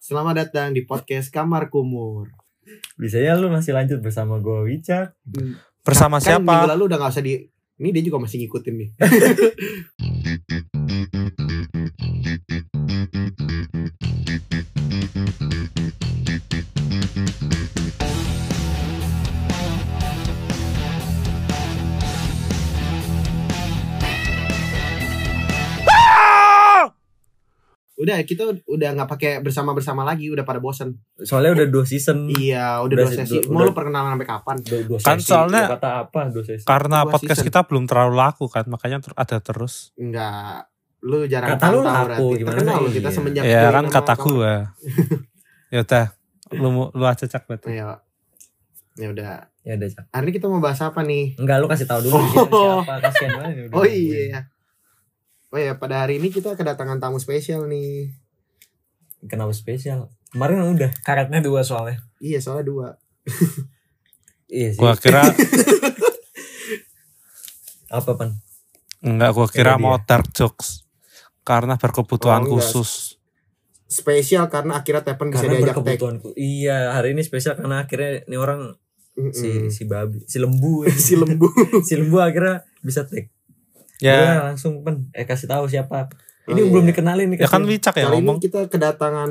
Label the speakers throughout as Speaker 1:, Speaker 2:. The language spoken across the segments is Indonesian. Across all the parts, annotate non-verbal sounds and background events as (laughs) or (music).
Speaker 1: Selamat datang di podcast Kamar Kumur.
Speaker 2: Biasanya ya lu masih lanjut bersama gue Wicak.
Speaker 3: Bersama
Speaker 1: Kan
Speaker 3: siapa?
Speaker 1: minggu lalu udah gak usah di... Ini dia juga masih ngikutin nih. Udah kita udah nggak pakai bersama-bersama lagi, udah pada bosen.
Speaker 2: Soalnya udah dua season.
Speaker 1: Iya, udah
Speaker 2: Hmm. Udah
Speaker 1: dua
Speaker 2: sih,
Speaker 1: sesi.
Speaker 2: udah-
Speaker 1: Mau
Speaker 2: udah.
Speaker 1: lu perkenalan sampai kapan?
Speaker 2: Dua, dua
Speaker 3: Kan
Speaker 2: sesi.
Speaker 3: soalnya- Kan-
Speaker 2: Lu kata apa dua sesi?
Speaker 3: Karena
Speaker 1: Dua
Speaker 3: podcast
Speaker 1: season.
Speaker 3: kita belum terlalu laku kan, makanya ter- ada terus.
Speaker 1: Enggak. Lu jarang
Speaker 2: Kata lu
Speaker 1: pantau,
Speaker 2: laku,
Speaker 1: berarti.
Speaker 2: gimana?
Speaker 1: Terkenal lu kita
Speaker 2: Iya.
Speaker 1: semenjak
Speaker 3: ya
Speaker 1: join
Speaker 3: kan
Speaker 1: sama
Speaker 3: kataku
Speaker 1: (laughs)
Speaker 3: ya. ya udah, lu mu- lu aja cak
Speaker 1: kamu. Iya. Ya udah.
Speaker 2: Ya udah. Cak.
Speaker 1: Hari ini kita mau bahas apa nih?
Speaker 2: Enggak lu kasih tahu dulu
Speaker 1: Oh.
Speaker 2: siapa siapa kasihan banget. ya, udah
Speaker 1: Oh
Speaker 2: nungguin.
Speaker 1: iya. Oh iya, pada hari ini kita kedatangan tamu spesial nih.
Speaker 2: Kenapa spesial? Kemarin udah.
Speaker 4: Karetnya dua soalnya.
Speaker 1: Iya, soalnya dua.
Speaker 2: Iya sih.
Speaker 3: Gua
Speaker 1: (laughs)
Speaker 3: kira
Speaker 2: Apa pan?
Speaker 3: enggak gua kira
Speaker 2: Iya,
Speaker 3: mau dark jokes. Karena berkebutuhan
Speaker 1: Oh, enggak.
Speaker 3: khusus.
Speaker 1: Spesial karena akhirnya Tepen bisa
Speaker 2: Karena
Speaker 1: diajak tag.
Speaker 2: berkebutuhanku. Iya hari ini spesial karena akhirnya ini orang
Speaker 1: Mm-mm.
Speaker 2: si si babi si lembu ya.
Speaker 1: Hmm. (laughs) si lembu.
Speaker 2: si lembu akhirnya bisa tag.
Speaker 1: Iya,
Speaker 3: Ya,
Speaker 2: Gua langsung pan. Eh kasih tahu siapa.
Speaker 1: Oh,
Speaker 2: (laughs) Ini
Speaker 1: iya.
Speaker 2: belum dikenalin nih.
Speaker 3: ya
Speaker 2: kasihan.
Speaker 3: kan Wicak
Speaker 1: Kali
Speaker 3: ya
Speaker 1: ini (laughs)
Speaker 3: ngomong.
Speaker 1: kita kedatangan.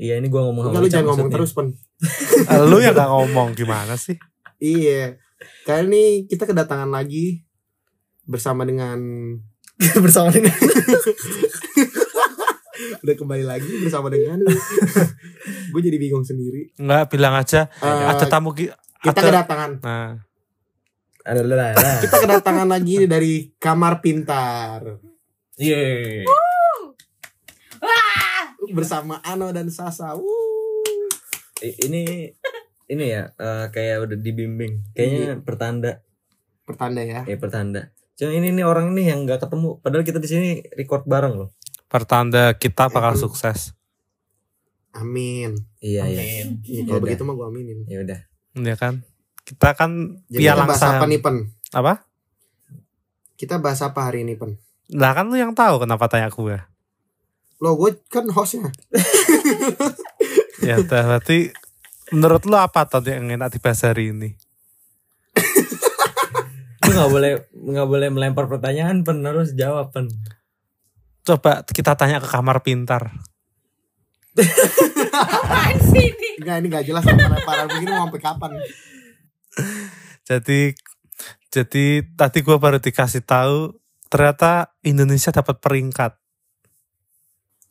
Speaker 2: Iya ini gua ngomong sama
Speaker 1: Kalau
Speaker 2: Wicak
Speaker 1: jangan ngomong
Speaker 2: maksudnya. (laughs)
Speaker 1: terus, Pen.
Speaker 3: lu yang gak ngomong gimana sih?
Speaker 1: Iya. Kali ini kita kedatangan lagi bersama dengan
Speaker 4: Bersama dengan
Speaker 1: udah kembali lagi bersama (laughs) dengan gue jadi bingung sendiri.
Speaker 3: Enggak bilang aja
Speaker 1: Eh,
Speaker 3: ada tamu ki-
Speaker 1: kita
Speaker 3: ada-
Speaker 1: kedatangan.
Speaker 3: Nah,
Speaker 2: Ada lah lah.
Speaker 1: Kita kedatangan (laughs) lagi dari kamar pintar
Speaker 2: Iya.
Speaker 1: bersama Ano dan Sasa. Wuh.
Speaker 2: I- ini ini ya eh, kayak udah dibimbing
Speaker 3: Iya.
Speaker 2: kayaknya pertanda
Speaker 1: Pertanda ya.
Speaker 2: ya pertanda cuma ini nih orang ini yang nggak ketemu padahal kita di sini record bareng loh
Speaker 3: pertanda kita bakal
Speaker 1: Aduh.
Speaker 3: sukses.
Speaker 1: Amin.
Speaker 2: iya iya
Speaker 1: Iya, kalau
Speaker 2: Yaudah.
Speaker 1: begitu mah gue aminin.
Speaker 2: ya udah
Speaker 3: Ya kan? Kita kan
Speaker 1: Jadi kita
Speaker 3: pialang
Speaker 1: bahas apa
Speaker 3: saham.
Speaker 1: nih Pen?
Speaker 3: Apa?
Speaker 1: Kita bahas apa hari ini Pen?
Speaker 3: Lah kan lu yang tahu kenapa tanya gue.
Speaker 1: Lo gue kan hostnya.
Speaker 3: Ya udah berarti menurut lu apa tadi yang enak dibahas hari ini?
Speaker 2: lu nggak boleh nggak boleh melempar pertanyaan pen harus jawab pen
Speaker 3: Coba kita tanya ke kamar pintar.
Speaker 5: Apaan sih ini?
Speaker 1: Enggak ini gak jelas sama para begini mau sampai kapan?
Speaker 3: Jadi jadi tadi gue baru dikasih tahu ternyata Indonesia dapat peringkat.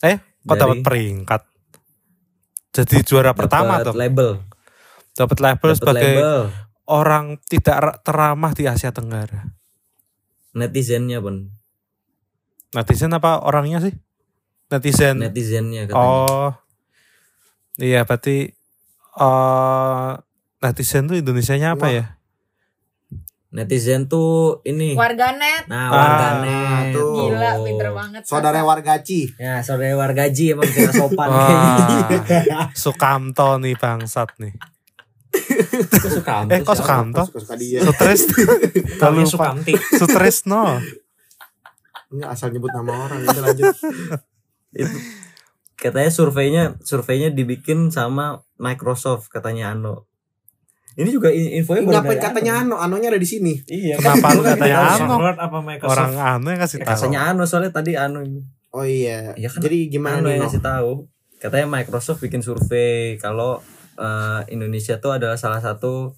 Speaker 3: Eh, kok
Speaker 2: Dari-
Speaker 3: dapat peringkat? Jadi juara pertama
Speaker 2: Dapat
Speaker 3: tuh.
Speaker 2: label
Speaker 3: Dapat label
Speaker 2: Dapat
Speaker 3: sebagai
Speaker 2: label
Speaker 3: orang tidak ra- teramah di Asia Tenggara.
Speaker 2: netizennya pen
Speaker 3: Netizen apa orangnya sih? Netizen.
Speaker 2: netizennya katanya
Speaker 3: Oh, iya berarti eh netizen tuh Indonesianya
Speaker 1: Wah.
Speaker 3: apa ya?
Speaker 2: netizen tuh ini
Speaker 5: Warganet.
Speaker 2: nah
Speaker 3: Ah,
Speaker 2: warganet
Speaker 1: tuh.
Speaker 5: Gila,
Speaker 2: Oh.
Speaker 5: pinter banget.
Speaker 1: Saudara wargaci.
Speaker 2: ya saudara wargaji emang tidak sopan
Speaker 3: Wah,
Speaker 2: kayaknya.
Speaker 3: Sukamto nih bangsat nih.
Speaker 2: (laughs) Kok Sukamto
Speaker 3: Eh kok
Speaker 2: sih?
Speaker 3: Sukamto?
Speaker 1: Suka-suka dia.
Speaker 3: Sutris,
Speaker 4: Tahunya
Speaker 3: lupa.
Speaker 4: Sukamti.
Speaker 3: Sutresno.
Speaker 1: Enggak asal nyebut nama orang. Udah lanjut. (laughs)
Speaker 2: itu katanya surveinya surveinya dibikin sama Microsoft katanya Ano ini juga in- infonya baru
Speaker 1: Ngapain
Speaker 2: dari
Speaker 1: katanya
Speaker 2: Ano
Speaker 1: Ano? Anonya ada di sini.
Speaker 4: Iya.
Speaker 3: Kenapa lu katanya Ano?
Speaker 4: Microsoft Word apa Microsoft?
Speaker 3: Orang aneh kasih
Speaker 2: Eh,
Speaker 3: tahu.
Speaker 2: katanya Ano soalnya tadi Ano ini.
Speaker 1: Oh iya.
Speaker 2: Iya kan?
Speaker 1: Jadi gimana
Speaker 2: Ano
Speaker 1: nih?
Speaker 2: yang
Speaker 1: No?
Speaker 2: ngasih tahu katanya Microsoft bikin survei kalau eh, Indonesia tuh adalah salah satu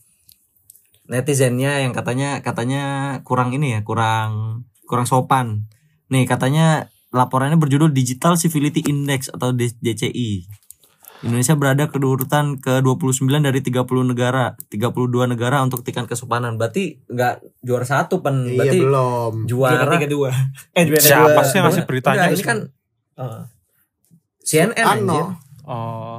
Speaker 2: netizennya yang katanya katanya kurang ini ya kurang kurang sopan nih katanya laporannya berjudul Digital Civility Index atau D- DCI Indonesia berada ke urutan ke-29 dari 30 negara, 32 negara untuk tingkat kesopanan. Berarti nggak juara satu pen,
Speaker 1: Iya
Speaker 2: berarti
Speaker 1: belum.
Speaker 2: juara
Speaker 4: tiga
Speaker 2: (laughs)
Speaker 4: dua. Eh juara tiga
Speaker 3: Siapa
Speaker 4: dua.
Speaker 3: sih yang ngasih beritanya?
Speaker 2: Enggak, ini kan CNN anjir.
Speaker 1: Ano.
Speaker 3: Oh,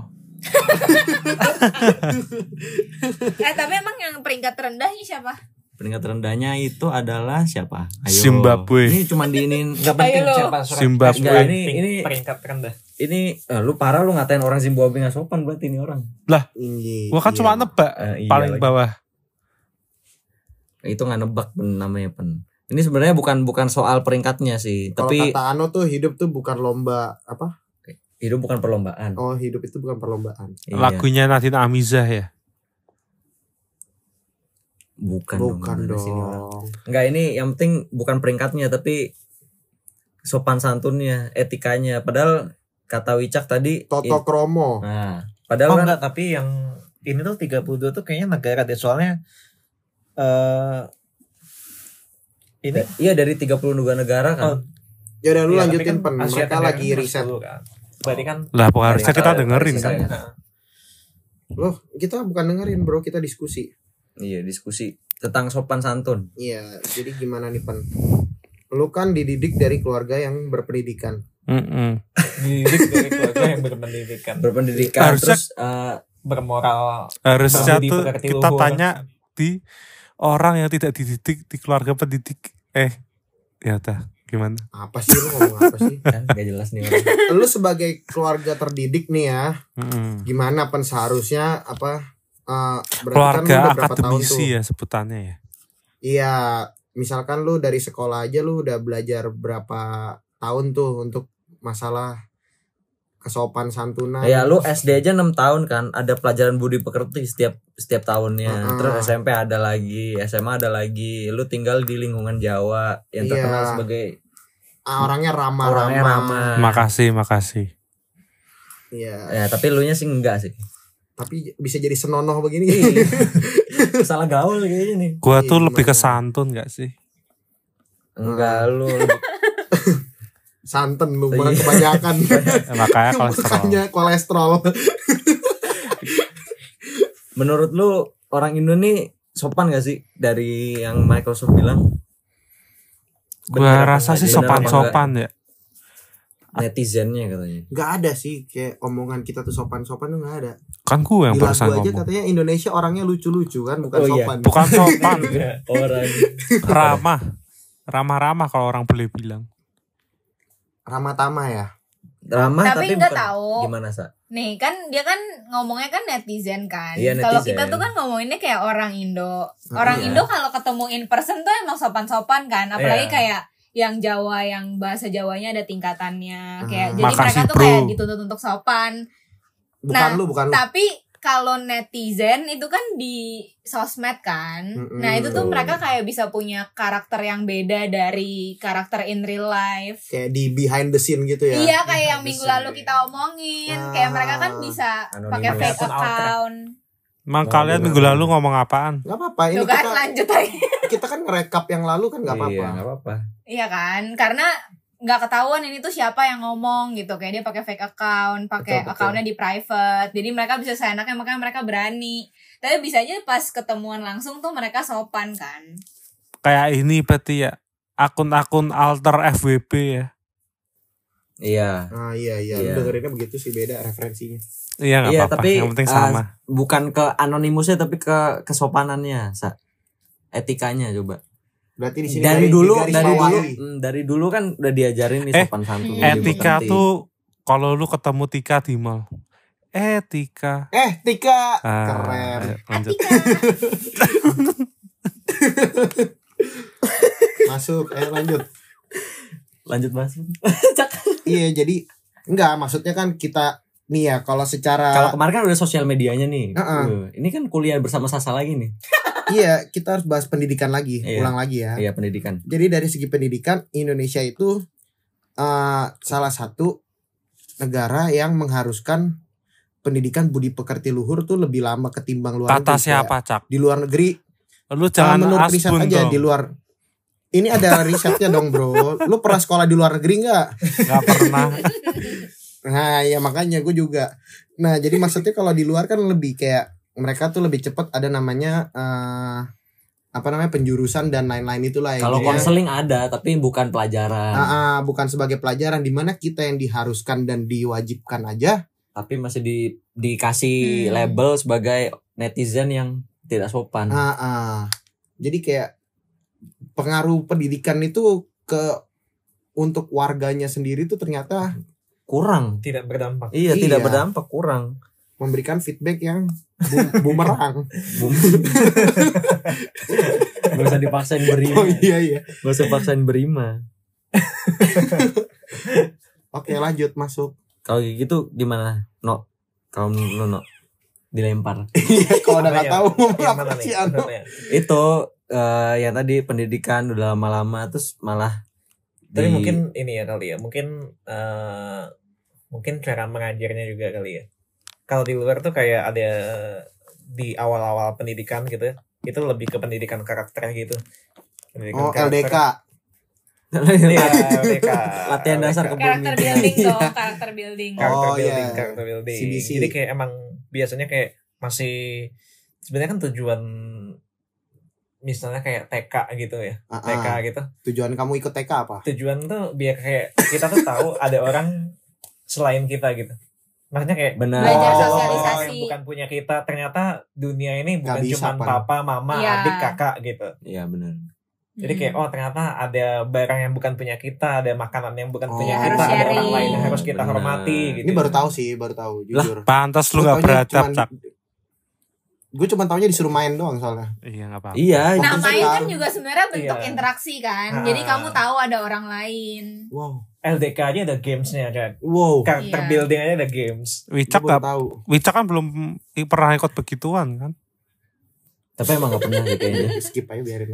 Speaker 5: Eh, tapi emang yang peringkat terendahnya siapa?
Speaker 2: Peringkat rendahnya itu adalah siapa?
Speaker 3: Zimbabwe.
Speaker 2: Ini cuman diinin
Speaker 4: Enggak penting
Speaker 5: Ayo lo.
Speaker 4: siapa surat.
Speaker 3: Zimbabwe.
Speaker 4: Nggak, ini
Speaker 2: Penting.
Speaker 4: ini peringkat rendah.
Speaker 2: ini eh, lu parah lu ngatain orang Zimbabwe nggak sopan berarti ini orang.
Speaker 1: Ini.
Speaker 3: gua kan
Speaker 1: iya.
Speaker 3: cuma nebak
Speaker 2: Eh, iya
Speaker 3: paling
Speaker 2: lagi.
Speaker 3: bawah.
Speaker 2: Itu nggak nebak pen, namanya pen. Ini sebenarnya bukan bukan soal peringkatnya sih,
Speaker 1: Kalau
Speaker 2: tapi
Speaker 1: kata Ano tuh hidup tuh bukan lomba apa?
Speaker 2: hidup bukan perlombaan.
Speaker 1: Oh hidup itu bukan perlombaan.
Speaker 2: Iya.
Speaker 3: Lagunya Nadine Amizah ya.
Speaker 2: bukan,
Speaker 1: bukan
Speaker 2: dong.
Speaker 1: dong.
Speaker 2: Sini orang. Enggak ini yang penting bukan peringkatnya tapi sopan santunnya, etikanya. Padahal kata Wicak tadi
Speaker 1: Toto
Speaker 2: i-
Speaker 1: Kromo.
Speaker 2: Nah,
Speaker 4: Oh
Speaker 2: padahal kan
Speaker 4: enggak, tapi yang ini tuh 32 tuh kayaknya negara deh soalnya eh ini
Speaker 2: iya dari 30 negara kan.
Speaker 4: Oh,
Speaker 1: Ya udah lu
Speaker 4: iya, tapi
Speaker 1: lanjutin
Speaker 4: kan
Speaker 1: pen.
Speaker 4: Asia
Speaker 1: Mereka
Speaker 4: Tenggara
Speaker 1: lagi
Speaker 4: kan nomor
Speaker 1: riset.
Speaker 4: 10 kan. Berarti kan
Speaker 3: Lah harusnya
Speaker 2: Dari-
Speaker 3: kita
Speaker 2: dari-
Speaker 3: dengerin
Speaker 2: dari-
Speaker 3: kan.
Speaker 2: Iya.
Speaker 4: Nah,
Speaker 1: Loh kita bukan dengerin bro kita diskusi.
Speaker 2: Iya, diskusi tentang sopan santun.
Speaker 1: Iya jadi gimana nih pen? Lu kan dididik dari keluarga yang berpendidikan.
Speaker 3: Mm-mm.
Speaker 4: (laughs) dididik dari keluarga yang berpendidikan
Speaker 2: Berpendidikan
Speaker 3: Harusnya-
Speaker 2: terus eh,
Speaker 4: bermoral
Speaker 3: Harusnya
Speaker 4: Budi
Speaker 3: tuh
Speaker 4: pekerti
Speaker 3: kita
Speaker 4: luhur.
Speaker 3: tanya di orang yang tidak dididik di keluarga pendidik. Eh, ya tah gimana?
Speaker 1: Apa sih lu ngomong apa sih? (laughs)
Speaker 2: kan gak jelas
Speaker 3: (laughs)
Speaker 2: nih orang.
Speaker 1: Lu sebagai keluarga terdidik nih ya.
Speaker 3: Mm-mm.
Speaker 1: Gimana pen seharusnya apa? eh, berarti kan lu
Speaker 3: Keluarga
Speaker 1: udah berapa tahun tuh?
Speaker 3: akademisi ya sebutannya ya.
Speaker 1: Iya, misalkan lu dari sekolah aja lu udah belajar berapa tahun tuh untuk masalah kesopan santunan.
Speaker 2: ya lu SD aja 6 tahun kan ada pelajaran budi pekerti setiap setiap tahunnya.
Speaker 1: Mm-mm.
Speaker 2: Terus SMP ada lagi, SMA ada lagi. Lu tinggal di lingkungan Jawa yang
Speaker 1: Iya.
Speaker 2: terkenal sebagai
Speaker 1: Ah, orangnya ramah.
Speaker 2: orangnya
Speaker 1: Nah.
Speaker 2: ramah.
Speaker 3: Makasih, makasih.
Speaker 1: Iya,
Speaker 2: Ya, tapi lu nya sih enggak
Speaker 1: (laughs)
Speaker 2: sih.
Speaker 1: tapi bisa jadi senonoh begini. (laughs)
Speaker 2: Salah gaul kayaknya nih.
Speaker 3: Gua
Speaker 1: Iya,
Speaker 3: tuh lebih ke
Speaker 1: gimana?
Speaker 3: santun gak sih?
Speaker 2: Enggak lu.
Speaker 1: Santan lu malah
Speaker 2: Iya. (laughs)
Speaker 1: kebanyakan. (laughs)
Speaker 3: Eh, Makanya kolesterol.
Speaker 1: Makanya kolesterol.
Speaker 2: Menurut lu orang Indo nih sopan gak sih dari yang Microsoft bilang?
Speaker 3: Gua
Speaker 2: Bener apa
Speaker 3: rasa
Speaker 2: enggak?
Speaker 3: sih
Speaker 2: Bener apa
Speaker 3: sopan-sopan ya.
Speaker 2: Netizennya katanya.
Speaker 1: Gak ada sih kayak omongan kita tuh sopan-sopan tuh gak ada.
Speaker 3: Kan gua
Speaker 1: Di
Speaker 3: yang
Speaker 1: lagu
Speaker 3: barusan
Speaker 1: aja
Speaker 3: ngomong.
Speaker 1: katanya Indonesia orangnya lucu-lucu kan, bukan
Speaker 2: Oh, iya.
Speaker 1: sopan.
Speaker 3: Bukan
Speaker 1: (laughs)
Speaker 3: sopan,
Speaker 1: Iya.
Speaker 2: Orang
Speaker 3: ramah. Ramah-ramah kalau orang boleh bilang.
Speaker 1: Ramah tamah ya.
Speaker 2: ramah
Speaker 5: Tapi
Speaker 2: Ah, tapi,
Speaker 5: nggak
Speaker 2: bukan-
Speaker 5: tahu.
Speaker 2: Gimana sa?
Speaker 5: Nih kan dia kan ngomongnya kan netizen kan.
Speaker 2: Iya,
Speaker 5: kalau
Speaker 2: netizen.
Speaker 5: kita tuh kan ngomonginnya kayak orang Indo. Orang
Speaker 2: iya.
Speaker 5: Indo kalau ketemu in person tuh emang sopan-sopan kan.
Speaker 2: Iya.
Speaker 5: Apalagi kayak yang Jawa yang bahasa Jawanya ada tingkatannya
Speaker 1: Ah.
Speaker 5: kayak jadi mereka
Speaker 3: Makasih,
Speaker 5: tuh kayak
Speaker 3: bro.
Speaker 5: dituntut untuk sopan.
Speaker 1: Bukan
Speaker 5: Nah,
Speaker 1: lu, bukan lu.
Speaker 5: Tapi kalau netizen itu kan di sosmed kan.
Speaker 1: Mm-mm.
Speaker 5: Nah, itu tuh mereka kayak bisa punya karakter yang beda dari karakter in real life.
Speaker 1: Kayak di behind the scene gitu ya.
Speaker 5: Iya, kayak yang
Speaker 2: bisa
Speaker 5: minggu lalu
Speaker 2: ya.
Speaker 5: kita omongin,
Speaker 1: Ah,
Speaker 5: kayak mereka kan bisa
Speaker 2: Anonymous.
Speaker 5: pakai fake
Speaker 4: Akun alter.
Speaker 5: account.
Speaker 3: Emang
Speaker 1: Oh,
Speaker 2: Mau
Speaker 3: kalian
Speaker 1: iya.
Speaker 2: bilang
Speaker 3: minggu
Speaker 2: apa?
Speaker 3: lalu ngomong apaan?
Speaker 1: Gak apa-apa, Nah, ini
Speaker 5: Tuh kan
Speaker 1: kita,
Speaker 5: lanjut lagi. (laughs)
Speaker 1: kita kan ngerekap yang lalu kan gak apa-apa.
Speaker 2: Iya, nggak apa-apa.
Speaker 5: iya kan? Karena nggak ketahuan ini tuh siapa yang ngomong gitu kayak dia pakai fake account
Speaker 2: Betul,
Speaker 5: pakai
Speaker 2: betul.
Speaker 5: accountnya di private jadi mereka bisa seenaknya makanya mereka berani tapi bisa aja pas ketemuan langsung tuh mereka sopan kan
Speaker 3: Kayak ini berarti ya akun-akun alter FWB ya.
Speaker 2: Iya.
Speaker 1: Ah iya iya,
Speaker 2: Iya.
Speaker 1: Lu dengerinnya begitu sih beda referensinya.
Speaker 3: Iya nggak
Speaker 2: Iya,
Speaker 3: apa-apa.
Speaker 2: tapi,
Speaker 3: yang penting
Speaker 2: eh,
Speaker 3: sama.
Speaker 2: Bukan ke anonimusnya tapi ke kesopanannya, sa. Etikanya coba.
Speaker 1: Berarti di sini
Speaker 2: Dari
Speaker 1: garis-
Speaker 2: dulu
Speaker 1: digaris
Speaker 2: dari dulu
Speaker 1: bawahi.
Speaker 2: mm, dari dulu kan udah diajarin nih
Speaker 3: Eh,
Speaker 2: sopan santun.
Speaker 5: Iya,
Speaker 3: Etika
Speaker 2: Budi pekerti.
Speaker 3: tuh kalau lu ketemu Tika di mall. Etika.
Speaker 1: Eh Tika,
Speaker 3: Ah,
Speaker 1: keren. Eh,
Speaker 3: ayo, lanjut.
Speaker 5: kan
Speaker 1: Masuk, eh lanjut.
Speaker 2: lanjut Mas.
Speaker 1: iya jadi enggak maksudnya kan kita nih ya kalau
Speaker 2: Kalau
Speaker 1: secara
Speaker 2: kemarin kan udah sosial medianya nih.
Speaker 1: Heeh.
Speaker 2: Uh, ini kan kuliah bersama Sasa lagi nih.
Speaker 1: iya kita harus bahas pendidikan lagi,
Speaker 2: Iya.
Speaker 1: ulang lagi ya.
Speaker 2: Iya, pendidikan.
Speaker 1: Jadi dari segi pendidikan Indonesia itu eh, salah satu negara yang mengharuskan pendidikan budi pekerti luhur tuh lebih lama ketimbang luar
Speaker 3: Tata
Speaker 1: negeri. Kayak
Speaker 3: siapa cak?
Speaker 1: Di luar negeri Ah,
Speaker 3: Lu jangan
Speaker 1: menurut riset
Speaker 3: asbun
Speaker 1: aja
Speaker 3: dong.
Speaker 1: di luar ini ada risetnya dong bro lu pernah sekolah di luar negeri nggak
Speaker 3: (laughs) Nggak pernah.
Speaker 1: nah ya makanya gue juga nah jadi maksudnya kalau di luar kan lebih kayak mereka tuh lebih cepat ada namanya eh, apa namanya penjurusan dan lain-lain itulah ya.
Speaker 2: Kalau
Speaker 1: Jadi,
Speaker 2: konseling ada tapi bukan
Speaker 1: ah,
Speaker 2: pelajaran.
Speaker 1: ah, bukan sebagai pelajaran dimana kita yang diharuskan dan diwajibkan aja
Speaker 2: Tapi masih di dikasih
Speaker 5: Hmm.
Speaker 2: label sebagai netizen yang tidak sopan.
Speaker 1: ah, ah. jadi kayak pengaruh pendidikan itu ke untuk warganya sendiri tuh ternyata
Speaker 2: Kurang.
Speaker 4: tidak berdampak
Speaker 2: Iya,
Speaker 1: Iya.
Speaker 2: tidak berdampak kurang.
Speaker 1: memberikan feedback yang bu- bumerang
Speaker 2: (laughs) Gak usah dipaksain berima.
Speaker 1: Oh iya iya.
Speaker 2: Gak usah paksain berima.
Speaker 1: Oke lanjut masuk.
Speaker 2: Kalau kayak gitu gimana? No. Kalau menurut lu, no. Dilempar.
Speaker 1: Eh, Kalau udah nggak tahu ngomong
Speaker 4: Yang
Speaker 1: apa
Speaker 4: mana nih?
Speaker 1: sih anu.
Speaker 4: Mana ya?
Speaker 2: Itu eh, yang tadi pendidikan udah lama-lama terus malah
Speaker 4: Tapi
Speaker 2: di- (laughs)
Speaker 4: mungkin ini ya kali ya, mungkin eh mungkin cara mengajarnya juga kali ya. Kalau di luar tuh kayak ada di awal-awal pendidikan gitu, itu lebih ke pendidikan karakter gitu. Pendidikan
Speaker 1: Oh
Speaker 4: karakter.
Speaker 1: LDK.
Speaker 4: Iya, LDK.
Speaker 2: latihan dasar
Speaker 5: Karakter
Speaker 4: LDK.
Speaker 2: kepemimpinan.
Speaker 5: building (laughs) dong, karakter building.
Speaker 1: Oh.
Speaker 4: Karakter building,
Speaker 1: iya.
Speaker 4: karakter building.
Speaker 1: CBC.
Speaker 4: Jadi kayak emang biasanya kayak masih sebenarnya kan tujuan misalnya kayak TK gitu ya,
Speaker 1: Ah, ah.
Speaker 4: TK gitu.
Speaker 1: Tujuan kamu ikut TK apa?
Speaker 4: tujuan tuh biar kayak kita tuh tahu ada orang selain kita gitu. Maksudnya kayak
Speaker 2: Benar.
Speaker 5: Belajar
Speaker 4: oh,
Speaker 5: sosialisasi.
Speaker 4: yang bukan punya kita. Ternyata dunia ini
Speaker 1: Nggak
Speaker 4: bukan
Speaker 1: bisa,
Speaker 4: cuma
Speaker 1: Pan.
Speaker 4: papa, mama,
Speaker 5: Iya.
Speaker 4: adik, kakak gitu.
Speaker 2: Iya benar.
Speaker 4: Jadi kayak oh ternyata ada barang yang bukan punya kita, ada makanan yang bukan
Speaker 1: Oh.
Speaker 4: punya
Speaker 1: Harus
Speaker 4: kita, ada orang
Speaker 5: sharing.
Speaker 4: lain yang harus kita
Speaker 2: Benar.
Speaker 4: hormati gitu.
Speaker 1: Ini baru tahu sih, baru tahu
Speaker 2: Lah,
Speaker 1: jujur.
Speaker 3: Pantas lu gak beradab, Cak.
Speaker 1: Gue cuma taunya disuruh main doang soalnya.
Speaker 3: Iya gak apa-apa.
Speaker 2: Iya,
Speaker 5: Nah,
Speaker 1: Waktu
Speaker 5: main kan
Speaker 1: sekarang.
Speaker 5: juga sebenarnya bentuk
Speaker 4: Iya.
Speaker 5: interaksi kan.
Speaker 4: Ah.
Speaker 5: Jadi kamu tahu ada orang lain.
Speaker 1: Wow.
Speaker 4: LDK aja ada gamesnya kan.
Speaker 1: Wow.
Speaker 4: Karakter
Speaker 5: Iya.
Speaker 4: building aja ada games.
Speaker 1: Gue
Speaker 3: Wicak
Speaker 1: baru
Speaker 3: gak,
Speaker 1: tahu.
Speaker 3: Wicak kan belum i- pernah ikut begituan kan.
Speaker 2: tapi emang gak pernah gitu
Speaker 5: (laughs)
Speaker 2: ya.
Speaker 1: Skip aja biarin.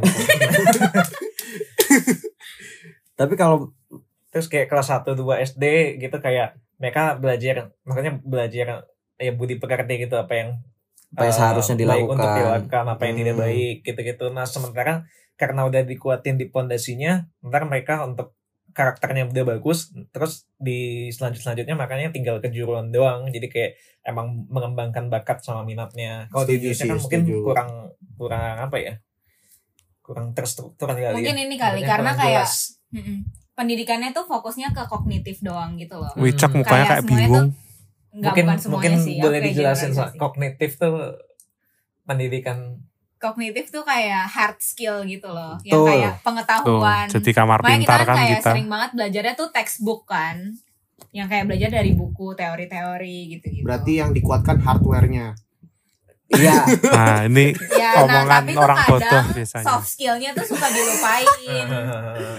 Speaker 2: Tapi kalau
Speaker 4: terus kayak kelas 1 2 SD gitu kayak mereka belajar makanya belajar ya budi pekerti gitu apa yang
Speaker 2: Apa yang
Speaker 4: eh,
Speaker 2: seharusnya
Speaker 4: baik untuk
Speaker 2: dilakukan.
Speaker 4: dilakukan apa yang tidak
Speaker 1: Hmm.
Speaker 4: baik gitu-gitu nah sementara karena udah dikuatin di pondasinya ntar mereka untuk karakternya udah bagus terus di selanjut selanjutnya makanya tinggal kejuruan doang jadi kayak emang mengembangkan bakat sama minatnya kalau di
Speaker 1: Setuju
Speaker 4: Indonesia
Speaker 1: sih,
Speaker 4: kan mungkin
Speaker 1: setuju.
Speaker 4: kurang kurang apa ya kurang terstruktur kali
Speaker 5: Mungkin
Speaker 4: ya
Speaker 5: ini kali
Speaker 4: Makanya
Speaker 5: karena
Speaker 4: kurang
Speaker 5: kayak
Speaker 4: jelas.
Speaker 5: Mm-mm. pendidikannya tuh fokusnya ke kognitif doang gitu loh.
Speaker 4: Hmm.
Speaker 3: Wicak mukanya
Speaker 5: Kayak
Speaker 3: kayak
Speaker 5: semuanya
Speaker 3: bingung.
Speaker 5: Enggak
Speaker 4: mungkin
Speaker 5: bukan semuanya
Speaker 4: mungkin
Speaker 5: sih. ya,
Speaker 4: boleh
Speaker 5: kayak
Speaker 4: dijelasin
Speaker 5: generalisasi.
Speaker 4: soal kognitif tuh pendidikan
Speaker 5: Kognitif tuh kayak hard skill gitu loh, yang
Speaker 2: Betul.
Speaker 5: kayak
Speaker 3: Tuh,
Speaker 5: pengetahuan.
Speaker 3: jadi kamar
Speaker 5: Makanya kita
Speaker 3: pintar
Speaker 5: kan
Speaker 3: kan
Speaker 5: kayak
Speaker 3: kita.
Speaker 5: sering banget belajarnya tuh textbook kan. Yang kayak belajar dari buku, teori-teori gitu-gitu.
Speaker 1: Berarti yang dikuatkan hardware-nya.
Speaker 5: (laughs)
Speaker 2: iya
Speaker 3: Nah, ini
Speaker 5: ya, nah,
Speaker 3: omongan
Speaker 5: tapi
Speaker 3: orang
Speaker 5: tuh
Speaker 3: bodoh
Speaker 5: kadang
Speaker 3: biasanya.
Speaker 5: soft skillnya tuh suka dilupain.
Speaker 4: (laughs)
Speaker 2: Iya.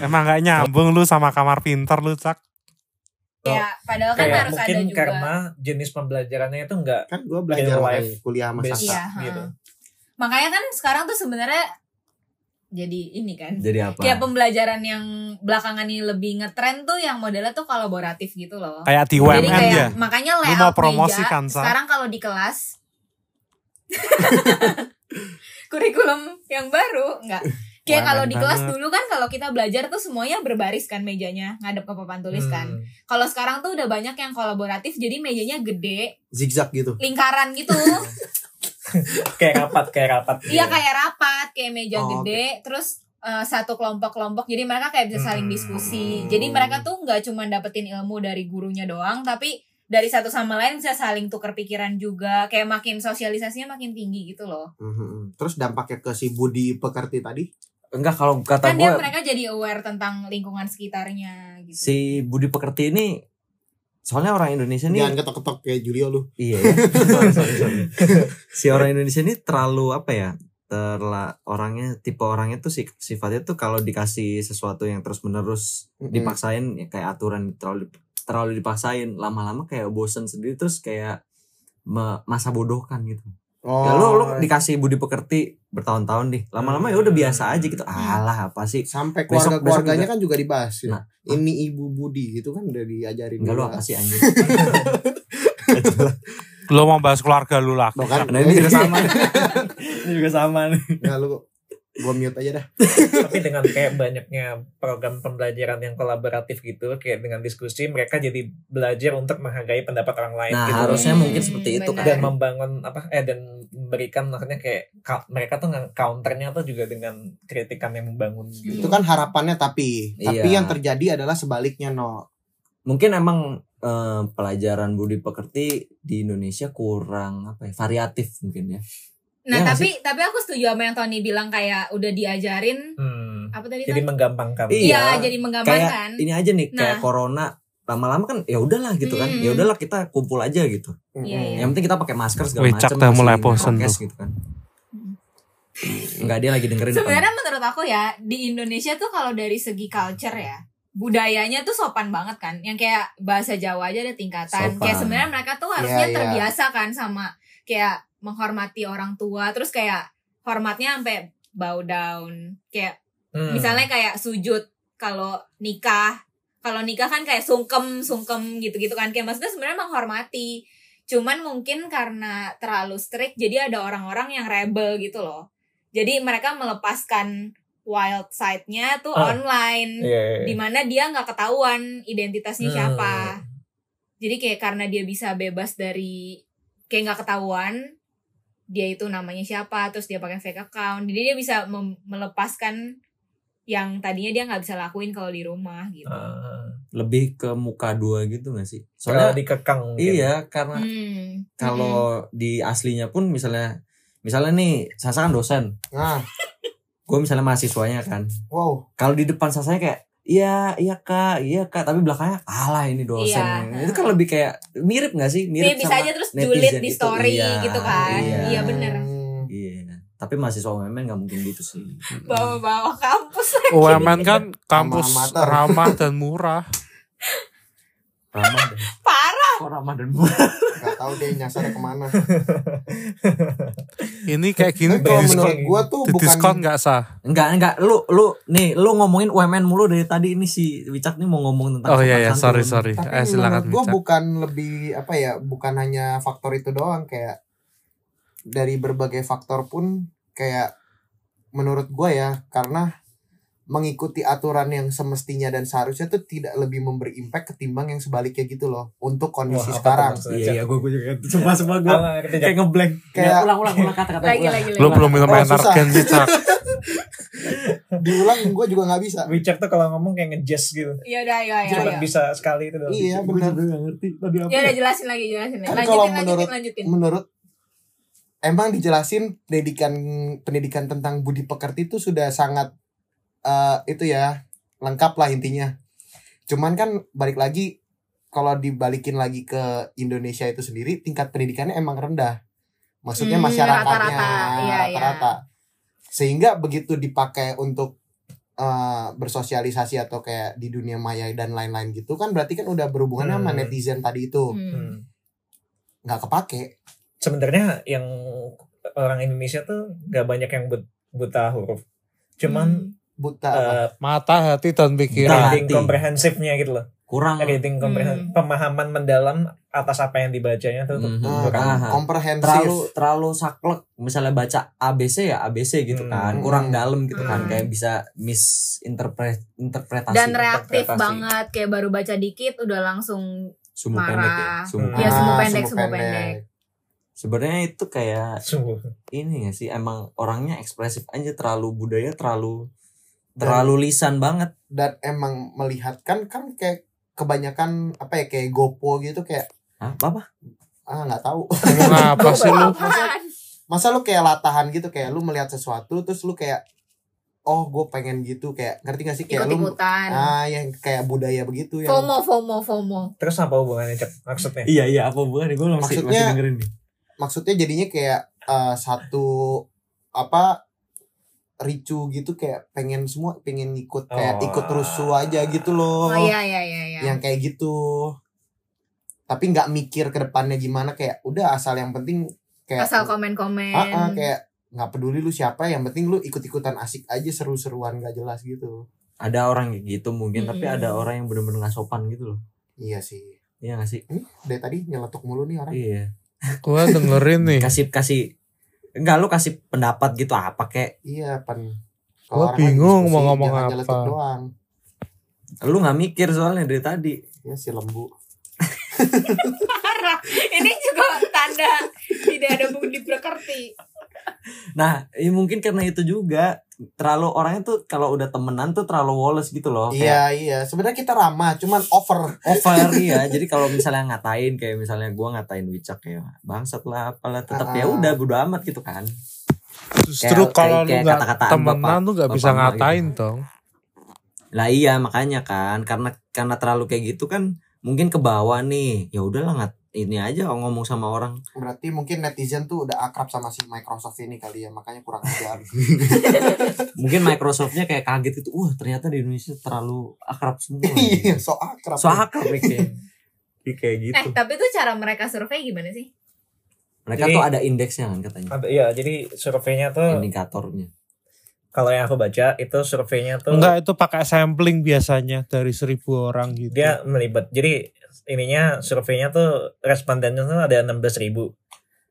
Speaker 3: Emang gak nyambung lu sama kamar pintar lu, Cak.
Speaker 5: ya, padahal kan
Speaker 4: kayak
Speaker 5: harus ada
Speaker 4: mungkin
Speaker 5: juga.
Speaker 4: karena jenis pembelajarannya itu enggak
Speaker 1: Kan gue belajar
Speaker 4: Real
Speaker 1: makanya
Speaker 4: life.
Speaker 1: kuliah sama
Speaker 4: basic
Speaker 1: Sasa.
Speaker 5: Iya, ha.
Speaker 4: gitu
Speaker 5: Makanya kan sekarang tuh sebenarnya jadi ini kan.
Speaker 2: jadi apa?
Speaker 5: Kayak pembelajaran yang belakangan ini lebih ngetren tuh yang modelnya tuh kolaboratif gitu loh.
Speaker 3: Kayak di
Speaker 5: Jadi
Speaker 3: UMN
Speaker 5: kayak
Speaker 3: ya.
Speaker 5: makanya
Speaker 3: Lu
Speaker 5: layout
Speaker 3: mau promosikan, Sa?
Speaker 5: meja sekarang kalau di kelas (laughs) kurikulum yang baru enggak. Kayak
Speaker 3: Wah,
Speaker 5: kalau
Speaker 3: keren
Speaker 5: di kelas
Speaker 3: banget.
Speaker 5: dulu kan kalau kita belajar tuh semuanya berbaris kan mejanya, ngadep ke papan tulis kan.
Speaker 4: Hmm.
Speaker 5: Kalau sekarang tuh udah banyak yang kolaboratif jadi mejanya gede,
Speaker 1: Zigzag gitu.
Speaker 5: lingkaran gitu.
Speaker 4: kayak rapat kayak rapat
Speaker 5: (laughs) Iya
Speaker 4: gitu.
Speaker 5: kayak rapat, kayak meja
Speaker 1: Oh,
Speaker 5: gede, terus eh, satu kelompok-kelompok. Jadi mereka kayak bisa saling
Speaker 4: Hmm.
Speaker 5: diskusi. Jadi mereka tuh nggak cuma dapetin ilmu dari gurunya doang, tapi dari satu sama lain bisa saling tukar pikiran juga. Kayak makin sosialisasinya makin tinggi gitu loh.
Speaker 1: Mhm. Terus dampaknya ke si Budi Pekerti tadi?
Speaker 2: Enggak kalau kata
Speaker 5: Kan dia
Speaker 2: gue
Speaker 5: mereka jadi aware tentang lingkungan sekitarnya gitu.
Speaker 2: si Budi Pekerti ini soalnya orang Indonesia nih
Speaker 1: Jangan ketok-ketok kayak Julio lu.
Speaker 2: iya ya. Sorry, sorry, sorry. (laughs) si orang Indonesia ini terlalu apa ya terla orangnya tipe orangnya tuh si- sifatnya tuh kalau dikasih sesuatu yang terus menerus
Speaker 1: Mm-mm.
Speaker 2: dipaksain ya kayak aturan terlalu terlalu dipaksain lama-lama kayak bosen sendiri terus kayak me- masa bodohkan gitu
Speaker 1: Oh.
Speaker 2: Ya, lu, lu dikasih budi pekerti bertahun-tahun nih. Lama-lama ya udah biasa aja gitu. Alah apa sih?
Speaker 1: sampai
Speaker 2: Besok-
Speaker 1: keluarga-keluarganya
Speaker 2: besok
Speaker 1: kan juga dibahas ya.
Speaker 2: Nah.
Speaker 1: ini Ibu Budi itu kan udah diajarin.
Speaker 2: Enggak lu
Speaker 1: juga.
Speaker 2: apa sih anjing?
Speaker 3: Lu mau bahas keluarga lu lah.
Speaker 1: Tuh kan.
Speaker 2: Nah, ini juga sama. ini juga sama nih.
Speaker 1: Enggak lu gua mute aja dah.
Speaker 4: (laughs) tapi dengan kayak banyaknya program pembelajaran yang kolaboratif gitu kayak dengan diskusi mereka jadi belajar untuk menghargai pendapat orang lain
Speaker 2: Nah,
Speaker 4: gitu.
Speaker 2: harusnya
Speaker 5: Hmm,
Speaker 2: mungkin seperti itu
Speaker 5: benar.
Speaker 2: kan.
Speaker 4: dan membangun apa eh dan memberikan maksudnya kayak ka- mereka tuh nge- counternya tuh juga dengan kritikan yang membangun
Speaker 5: Iya.
Speaker 1: Itu
Speaker 4: gitu
Speaker 1: kan harapannya tapi tapi
Speaker 2: Iya.
Speaker 1: yang terjadi adalah sebaliknya no.
Speaker 2: Mungkin emang eh, pelajaran budi pekerti di Indonesia kurang apa ya? Variatif mungkin ya.
Speaker 5: Nah,
Speaker 2: Iya nggak
Speaker 5: tapi tapi aku setuju sama yang Tony bilang kayak udah diajarin
Speaker 4: Hmm.
Speaker 5: apa tadi
Speaker 4: jadi
Speaker 5: Ton?
Speaker 4: menggampangkan
Speaker 5: Iya,
Speaker 2: Iya,
Speaker 5: jadi menggambarkan.
Speaker 2: Ini aja nih kayak
Speaker 5: Nah.
Speaker 2: corona lama-lama kan ya udahlah gitu kan.
Speaker 5: Hmm.
Speaker 2: Ya udahlah kita kumpul aja gitu.
Speaker 5: Iya, iya.
Speaker 2: Yang penting kita pakai masker segala
Speaker 3: Wih,
Speaker 2: macam.
Speaker 3: Cak udah mulai
Speaker 2: masih
Speaker 3: bosen
Speaker 2: podcast
Speaker 3: tuh.
Speaker 2: gitu kan. Enggak dia lagi dengerin. apa?
Speaker 5: Sebenarnya menurut aku ya di Indonesia tuh kalau dari segi culture ya budayanya tuh sopan banget kan yang kayak bahasa Jawa aja ada tingkatan
Speaker 2: Sopan.
Speaker 5: kayak sebenarnya mereka tuh harusnya
Speaker 1: Iya, iya.
Speaker 5: terbiasa kan sama kayak menghormati orang tua terus kayak hormatnya sampai bow down kayak
Speaker 4: Hmm.
Speaker 5: misalnya kayak sujud kalau nikah kalau nikah kan kayak sungkem sungkem gitu-gitu kan kayak maksudnya sebenarnya menghormati cuman mungkin karena terlalu strict jadi ada orang-orang yang rebel gitu loh jadi mereka melepaskan wild side-nya tuh
Speaker 4: Ah.
Speaker 5: online
Speaker 4: Iya, iya, iya.
Speaker 5: dimana dia nggak ketahuan identitasnya
Speaker 4: Hmm.
Speaker 5: siapa jadi kayak karena dia bisa bebas dari kayak nggak ketahuan dia itu namanya siapa terus dia pakai fake account jadi dia bisa mem- melepaskan yang tadinya dia nggak bisa lakuin kalau di rumah gitu
Speaker 4: Ah,
Speaker 2: lebih ke muka dua gitu gak sih
Speaker 4: kalau
Speaker 2: soalnya
Speaker 4: dikekang mungkin.
Speaker 2: iya karena
Speaker 5: Hmm.
Speaker 2: kalau di aslinya pun misalnya misalnya nih Sasa kan dosen
Speaker 1: Nah,
Speaker 2: gue misalnya mahasiswanya kan
Speaker 1: wow.
Speaker 2: kalau di depan sasanya kayak iya iya kak iya kak tapi belakangnya alah ini dosen
Speaker 5: Iya.
Speaker 2: itu kan lebih kayak mirip nggak sih
Speaker 5: dia
Speaker 2: mirip
Speaker 5: bisa
Speaker 2: sama
Speaker 5: aja terus
Speaker 2: netizen
Speaker 5: julid di
Speaker 2: itu.
Speaker 5: story
Speaker 2: Iya,
Speaker 5: gitu kan
Speaker 2: iya.
Speaker 5: iya, bener
Speaker 1: Hmm.
Speaker 2: iya tapi mahasiswa UMN nggak mungkin gitu sih
Speaker 5: bawa-bawa kampus
Speaker 3: UMN kan
Speaker 2: Iya.
Speaker 3: kampus
Speaker 1: Alma mater.
Speaker 3: ramah dan murah.
Speaker 2: ramah dan (laughs)
Speaker 5: parah
Speaker 2: kok ramah dan murah
Speaker 1: Gak tau deh nyasar kemana.
Speaker 3: Ini kayak gini
Speaker 1: Tapi kalau
Speaker 3: di diskon,
Speaker 1: menurut gua tuh
Speaker 3: di diskon
Speaker 1: bukan
Speaker 3: nggak sah.
Speaker 2: enggak enggak lu lu nih lu ngomongin UMN mulu dari tadi ini si Wicak nih mau ngomong tentang
Speaker 3: Oh
Speaker 2: sopan
Speaker 3: iya ya,
Speaker 2: santun.
Speaker 3: sorry sorry.
Speaker 1: tapi
Speaker 3: Eh silakan
Speaker 1: gue
Speaker 3: Wicak.
Speaker 1: bukan lebih apa ya bukan hanya faktor itu doang kayak dari berbagai faktor pun kayak menurut gue ya karena mengikuti aturan yang semestinya dan seharusnya tuh tidak lebih memberi impact ketimbang yang sebaliknya gitu loh untuk kondisi
Speaker 4: Wah, apa
Speaker 1: sekarang
Speaker 4: tuh maksudnya?
Speaker 2: iya iya gue gue juga semua semua
Speaker 4: Gua
Speaker 2: gue
Speaker 4: nggak ngerti, Jack.
Speaker 2: kayak ngeblank
Speaker 1: Kayak-
Speaker 2: ulang ulang ulang kata kata
Speaker 5: lagi lagi lagi
Speaker 3: Lu belum minum
Speaker 1: Oh,
Speaker 3: Enargen Wicak.
Speaker 1: diulang gue juga nggak bisa
Speaker 4: Wicak tuh kalau ngomong kayak ngejazz gitu.
Speaker 5: ya udah ya ya
Speaker 4: Cuma
Speaker 5: ya
Speaker 4: bisa sekali itu doang.
Speaker 1: iya benar
Speaker 2: ngerti tadi apa
Speaker 5: ya udah jelasin lagi jelasin lagi
Speaker 1: Kan
Speaker 5: lanjutin
Speaker 1: kalau
Speaker 5: lanjutin
Speaker 1: menurut-
Speaker 5: lanjutin
Speaker 1: menurut emang dijelasin pendidikan pendidikan tentang budi pekerti itu sudah sangat eh, itu ya lengkap lah intinya cuman kan balik lagi kalau dibalikin lagi ke Indonesia itu sendiri tingkat pendidikannya emang rendah maksudnya
Speaker 5: Hmm,
Speaker 1: masyarakatnya
Speaker 5: rata-rata. Iya, iya.
Speaker 1: rata-rata. sehingga begitu dipakai untuk eh, bersosialisasi atau kayak di dunia maya dan lain-lain gitu kan berarti kan udah berhubungannya sama
Speaker 4: Hmm.
Speaker 1: netizen tadi itu
Speaker 5: Hmm.
Speaker 4: Hmm.
Speaker 1: nggak kepake
Speaker 4: sebenarnya yang orang Indonesia tuh gak banyak yang but- buta huruf
Speaker 2: Hmm.
Speaker 4: cuman
Speaker 1: buta
Speaker 5: Hmm.
Speaker 1: apa?
Speaker 4: eh,
Speaker 3: Mata, hati dan pikiran.
Speaker 2: Nah.
Speaker 4: reading
Speaker 2: hati.
Speaker 4: komprehensifnya gitu loh
Speaker 2: kurang
Speaker 4: reading
Speaker 5: Hmm.
Speaker 4: komprehensif pemahaman mendalam atas apa yang dibacanya tuh
Speaker 2: Mhm.
Speaker 1: Nah,
Speaker 4: kurang.
Speaker 2: Paham.
Speaker 1: komprehensif
Speaker 2: terlalu terlalu saklek misalnya baca ABC ya ABC gitu
Speaker 4: Hmm.
Speaker 2: kan kurang dalam gitu kan
Speaker 5: Hmm.
Speaker 2: kayak bisa misinterpretasi
Speaker 5: dan reaktif
Speaker 2: interpretasi.
Speaker 5: banget kayak baru baca dikit udah langsung
Speaker 2: sumbu
Speaker 5: Marah.
Speaker 2: pendek ya sumbu
Speaker 4: Hmm.
Speaker 5: ya
Speaker 2: pendek.
Speaker 5: sumbu
Speaker 1: Ah,
Speaker 5: pendek
Speaker 1: sumbu
Speaker 5: sumbu
Speaker 1: pendek.
Speaker 5: pendek
Speaker 2: sebenarnya itu kayak
Speaker 4: sungguh
Speaker 2: ini gak sih emang orangnya ekspresif aja terlalu budaya terlalu terlalu lisan banget
Speaker 1: dan emang melihat kan kan kayak kebanyakan apa ya kayak gopo gitu kayak
Speaker 2: Hah, apa apa
Speaker 1: ah nggak tahu (laughs)
Speaker 3: Ngomong apa sih lu?
Speaker 5: Apaan?
Speaker 1: masa lu kayak latahan gitu kayak lu melihat sesuatu terus lu kayak oh gue pengen gitu kayak ngerti gak sih kayak lu
Speaker 5: ikut-ikutan
Speaker 1: ah iya. yang kayak budaya begitu yang
Speaker 5: FOMO FOMO FOMO
Speaker 4: terus apa hubungannya cek maksudnya
Speaker 2: iya iya apa bukan gue
Speaker 1: masih- masih
Speaker 2: dengerin nih
Speaker 1: maksudnya jadinya kayak eh, satu apa ricu gitu kayak pengen semua pengen ikut kayak
Speaker 4: Oh.
Speaker 1: ikut rusuh aja gitu loh
Speaker 5: oh iya iya iya iya
Speaker 1: yang kayak gitu tapi nggak mikir ke depannya gimana kayak udah asal yang penting kayak
Speaker 5: asal komen-komen
Speaker 1: Ah, ah, kayak nggak peduli lu siapa yang penting lu ikut ikutan asik aja seru seruan nggak jelas gitu
Speaker 2: ada orang kayak gitu mungkin tapi
Speaker 5: Mm-mm.
Speaker 2: ada orang yang bener-bener nggak sopan gitu loh
Speaker 1: iya sih
Speaker 2: iya gak sih
Speaker 1: ini dari tadi nyeletuk mulu nih orang
Speaker 2: iya
Speaker 3: Gua dengerin nih.
Speaker 2: kasih kasih enggak lu kasih pendapat gitu apa kayak
Speaker 1: iya pan
Speaker 3: Gua
Speaker 1: orang lagi
Speaker 3: bingung mau
Speaker 1: diskusi,
Speaker 3: ngomong
Speaker 1: jangan nyeletuk
Speaker 3: apa.
Speaker 1: doang
Speaker 2: lu nggak mikir soalnya dari tadi
Speaker 1: ya si lembu
Speaker 5: Parah. ini juga tanda tidak ada budi pekerti
Speaker 2: nah ya mungkin karena itu juga terlalu orangnya tuh kalau udah temenan tuh terlalu woles gitu loh Kayak
Speaker 1: iya iya sebenarnya kita ramah cuman over (laughs)
Speaker 2: over ya jadi kalau misalnya ngatain kayak misalnya gua ngatain Wicak ya bangsat lah apalah tetap
Speaker 1: Ah.
Speaker 2: ya udah bodo amat gitu kan
Speaker 3: Justru
Speaker 2: Kayak-
Speaker 3: kalau lu
Speaker 2: kayak
Speaker 3: nggak
Speaker 2: kata-kataan
Speaker 3: temenan
Speaker 2: bapak-
Speaker 3: lu nggak bisa
Speaker 2: bapak emak gitu.
Speaker 3: ngatain dong.
Speaker 2: lah iya makanya kan karena karena terlalu kayak gitu kan mungkin ke bawah nih ya udahlah ngat ini aja ngomong sama orang
Speaker 1: Berarti mungkin netizen tuh udah akrab sama si Microsoft ini kali ya, makanya kurang
Speaker 3: (laughs)
Speaker 1: ajar.
Speaker 2: mungkin Microsoftnya kayak kaget itu wah ternyata di Indonesia terlalu akrab semua
Speaker 1: (laughs) Iya, so akrab.
Speaker 2: so akrab ya, kayak Jadi kayak
Speaker 5: Eh,
Speaker 2: gitu
Speaker 5: tapi tuh cara mereka survei gimana sih?
Speaker 2: mereka
Speaker 4: Jadi- Eh.
Speaker 2: tuh ada indeksnya kan katanya
Speaker 4: Ada- Iya, jadi surveinya tuh
Speaker 2: indikatornya
Speaker 4: kalau yang aku baca itu surveinya tuh
Speaker 3: Enggak itu pakai sampling biasanya dari seribu orang gitu.
Speaker 4: dia melibat. Jadi ininya surveinya tuh respondennya tuh ada 16.000 ribu.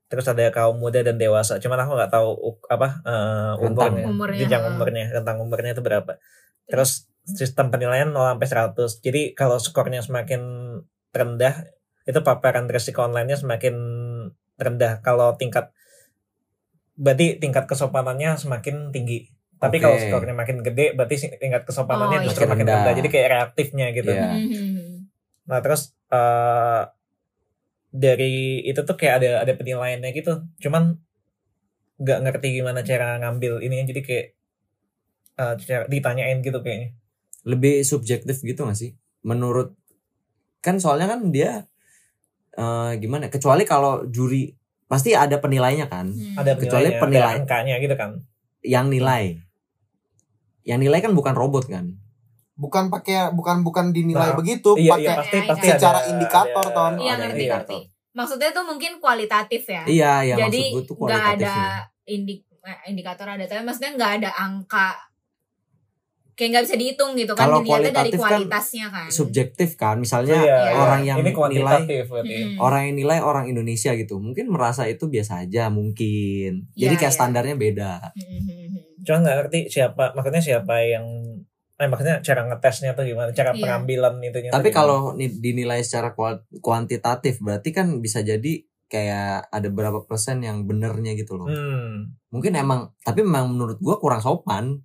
Speaker 4: Terus ada kaum muda dan dewasa. Cuman aku nggak tahu u- apa eh,
Speaker 2: Rentang.
Speaker 4: umurnya,
Speaker 5: Umurnya,
Speaker 4: jenjang
Speaker 5: ha.
Speaker 4: umurnya, rentang umurnya itu berapa. Terus sistem penilaian 0 sampai 100. Jadi kalau skornya semakin rendah, itu paparan resiko online-nya semakin rendah. Kalau tingkat berarti tingkat kesopanannya semakin tinggi. Tapi
Speaker 2: Oke.
Speaker 4: kalau skornya makin gede, berarti si- tingkat
Speaker 5: Oh,
Speaker 4: kesopanannya justru
Speaker 2: iya.
Speaker 4: makin
Speaker 2: Rendah.
Speaker 4: rendah. Jadi kayak reaktifnya gitu.
Speaker 2: Iya. Ya.
Speaker 5: Hmm.
Speaker 4: Nah terus eh dari itu tuh kayak ada ada penilaiannya gitu. Cuman nggak ngerti gimana cara ngambil ini jadi kayak eh, cara ditanyain gitu kayaknya.
Speaker 2: Hmm. lebih subjektif gitu gak sih menurut kan soalnya kan dia eh, gimana kecuali kalau juri pasti ada penilainya kan
Speaker 5: Hmm.
Speaker 4: Ada
Speaker 2: Kecuali
Speaker 4: penilaiannya,
Speaker 2: penilai-
Speaker 4: ada angkanya gitu kan.
Speaker 2: yang nilai yang nilai kan bukan robot kan
Speaker 1: Bukan pakai bukan bukan dinilai
Speaker 2: Oh,
Speaker 4: Nah,
Speaker 1: begitu,
Speaker 4: iya
Speaker 1: pakai
Speaker 4: iya pasti
Speaker 5: Iya,
Speaker 4: pasti
Speaker 5: iya.
Speaker 4: ada-
Speaker 1: Secara indikator,
Speaker 4: ada-
Speaker 1: Ton.
Speaker 5: Iya
Speaker 2: ada
Speaker 5: ngerti
Speaker 2: indikator.
Speaker 5: ngerti. Maksudnya tuh mungkin kualitatif ya.
Speaker 2: iya ya
Speaker 5: Jadi
Speaker 2: maksud gue tuh
Speaker 5: nggak ada Hmm.
Speaker 2: kualitatifnya
Speaker 5: indik eh, indikator ada tapi maksudnya nggak ada angka kayak nggak bisa dihitung gitu kan
Speaker 2: Kalau
Speaker 5: dilihatnya dari
Speaker 2: kualitatif kan
Speaker 5: kualitasnya kan.
Speaker 2: subjektif kan
Speaker 4: Iya,
Speaker 2: misalnya
Speaker 4: iya.
Speaker 2: orang yang
Speaker 4: ini
Speaker 2: nilai
Speaker 5: Hmm.
Speaker 4: kuantitatif berarti.
Speaker 5: Mm-mm.
Speaker 2: orang yang nilai orang Indonesia gitu mungkin merasa itu biasa aja mungkin jadi
Speaker 5: Iya,
Speaker 2: kayak
Speaker 5: iya.
Speaker 2: standarnya beda
Speaker 5: Mm-mm.
Speaker 4: Cuma nggak ngerti siapa maksudnya siapa yang eh maksudnya cara ngetesnya tuh gimana,
Speaker 5: Iya.
Speaker 4: cara pengambilan itunya. tuh
Speaker 2: tapi
Speaker 4: gimana.
Speaker 2: kalau ni- dinilai secara kual- kuantitatif berarti kan bisa jadi kayak ada berapa persen yang benernya gitu loh
Speaker 4: hmm,
Speaker 2: mungkin emang tapi memang menurut gua kurang sopan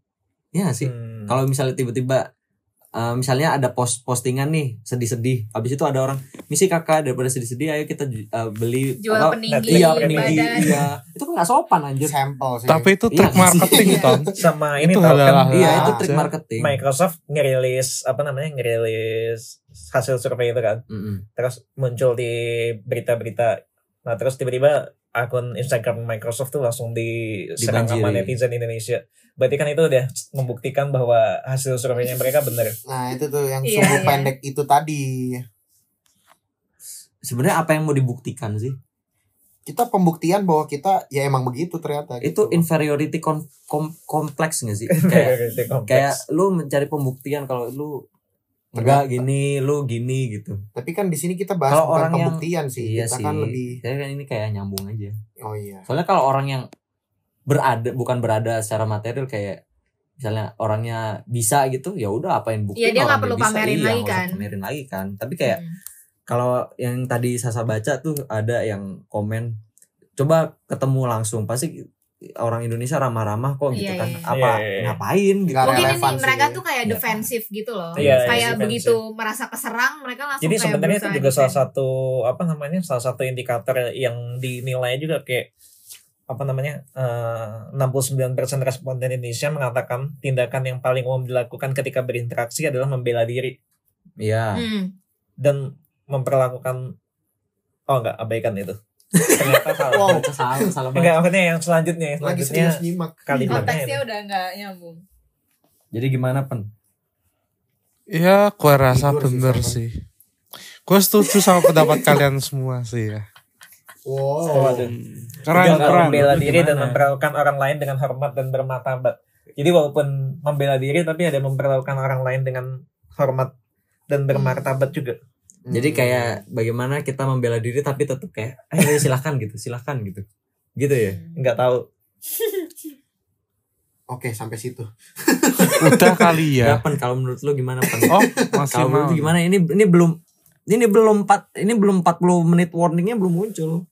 Speaker 2: ya sih
Speaker 4: hmm.
Speaker 2: kalau misalnya tiba-tiba eh, misalnya ada post postingan nih sedih-sedih habis itu ada orang misi kakak daripada sedih-sedih ayo kita ju- eh, beli
Speaker 5: Jual
Speaker 2: apa,
Speaker 5: peninggi
Speaker 2: iya
Speaker 4: peninggi,
Speaker 2: peninggi
Speaker 5: badan.
Speaker 2: iya itu kan nggak sopan anjir
Speaker 1: Sampel sih.
Speaker 3: Tapi itu
Speaker 2: Iya,
Speaker 3: trik
Speaker 2: nggak sih?
Speaker 3: marketing
Speaker 5: Iya.
Speaker 3: Tom.
Speaker 4: sama ini
Speaker 3: Itu
Speaker 4: tau
Speaker 3: adalah-
Speaker 4: kan
Speaker 2: iya itu
Speaker 1: Ah,
Speaker 2: trik
Speaker 3: aja.
Speaker 2: marketing
Speaker 4: Microsoft ngerilis apa namanya ngerilis hasil survei itu kan
Speaker 2: Mm-mm.
Speaker 4: terus muncul di berita-berita nah terus tiba-tiba akun Instagram Microsoft tuh langsung diserang sama
Speaker 2: Dibanjiri.
Speaker 4: netizen Indonesia berarti kan itu udah membuktikan bahwa hasil surveinya mereka benar
Speaker 1: Nah, itu tuh yang
Speaker 5: Iya,
Speaker 1: sumbu
Speaker 5: iya.
Speaker 1: pendek itu tadi.
Speaker 2: sebenarnya apa yang mau dibuktikan sih
Speaker 1: Kita pembuktian bahwa kita ya emang begitu ternyata.
Speaker 2: itu
Speaker 1: gitu.
Speaker 2: inferiority kom- kom- kompleks nggak
Speaker 4: (laughs)
Speaker 2: sih kayak
Speaker 4: gitu,
Speaker 2: kayak lu mencari pembuktian kalau lu enggak gini lu gini gitu
Speaker 1: Tapi kan di sini kita bahas
Speaker 2: Kalau
Speaker 1: bukan
Speaker 2: orang yang-
Speaker 1: pembuktian sih.
Speaker 2: iya
Speaker 1: kita
Speaker 2: sih
Speaker 1: kan lebih
Speaker 2: Saya kan ini kayak nyambung aja
Speaker 1: Oh iya.
Speaker 2: soalnya kalau orang yang berada bukan berada secara material kayak misalnya orangnya bisa gitu ya udah apain bukti
Speaker 5: Iya, dia
Speaker 2: kalau
Speaker 5: nggak
Speaker 2: dia
Speaker 5: perlu
Speaker 2: bisa,
Speaker 5: pamerin
Speaker 2: iya,
Speaker 5: lagi
Speaker 2: nggak usah
Speaker 5: kan.
Speaker 2: pamerin lagi kan tapi kayak
Speaker 5: Mm.
Speaker 2: kalau yang tadi Sasa baca tuh ada yang komen coba ketemu langsung pasti orang Indonesia ramah-ramah kok gitu
Speaker 5: Iya,
Speaker 2: kan
Speaker 5: iya.
Speaker 2: apa
Speaker 4: Iya, iya.
Speaker 2: ngapain gitu
Speaker 1: Nggak
Speaker 5: mungkin
Speaker 1: relevan
Speaker 5: ini mereka
Speaker 1: sih.
Speaker 5: tuh kayak
Speaker 2: Iya.
Speaker 5: defensif gitu loh
Speaker 4: Iya, iya,
Speaker 5: kayak
Speaker 4: defensif.
Speaker 5: begitu merasa keserang mereka langsung
Speaker 4: jadi
Speaker 5: kayak
Speaker 4: sebenarnya itu
Speaker 5: berusaha
Speaker 4: juga
Speaker 1: gitu
Speaker 4: salah
Speaker 1: ya?
Speaker 5: defend.
Speaker 4: satu apa namanya salah satu indikator yang dinilai juga kayak apa namanya eh, 69% responden Indonesia mengatakan tindakan yang paling umum dilakukan ketika berinteraksi adalah membela diri
Speaker 2: Iya.
Speaker 5: Hmm.
Speaker 4: dan memperlakukan oh enggak abaikan itu ternyata salah
Speaker 1: Wow.
Speaker 2: Ternyata salah salah banget.
Speaker 4: enggak maksudnya yang selanjutnya yang
Speaker 1: Lagi
Speaker 4: selanjutnya
Speaker 1: serius nyimak.
Speaker 4: kali
Speaker 5: konteksnya
Speaker 4: bilangnya
Speaker 5: udah nggak nyambung
Speaker 2: Jadi gimana pen?
Speaker 3: Iya, gua rasa
Speaker 1: Tidur sih,
Speaker 3: bener
Speaker 1: Tom.
Speaker 3: sih. Gua setuju sama pendapat kalian semua sih ya.
Speaker 1: Wow.
Speaker 3: Keren,
Speaker 4: Tiga,
Speaker 3: keren.
Speaker 4: membela diri dan
Speaker 2: Gimana?
Speaker 4: memperlakukan orang lain dengan hormat dan bermartabat. Jadi walaupun membela diri tapi ada memperlakukan orang lain dengan hormat dan bermartabat juga.
Speaker 2: Jadi
Speaker 1: Hmm.
Speaker 2: kayak bagaimana kita membela diri tapi tetap kayak eh silahkan gitu, silahkan gitu. Gitu
Speaker 4: Iya.
Speaker 2: ya.
Speaker 5: Hmm.
Speaker 4: Nggak tahu.
Speaker 1: Oke, sampai situ.
Speaker 3: Udah kali
Speaker 2: Ya,
Speaker 3: ya.
Speaker 2: Pen kalau menurut lu gimana Pen?
Speaker 3: Oh,
Speaker 2: kalau
Speaker 3: masih
Speaker 2: menurut
Speaker 3: mau.
Speaker 2: lu gimana? Ini ini belum ini belum 4 ini belum 40 menit warningnya belum muncul.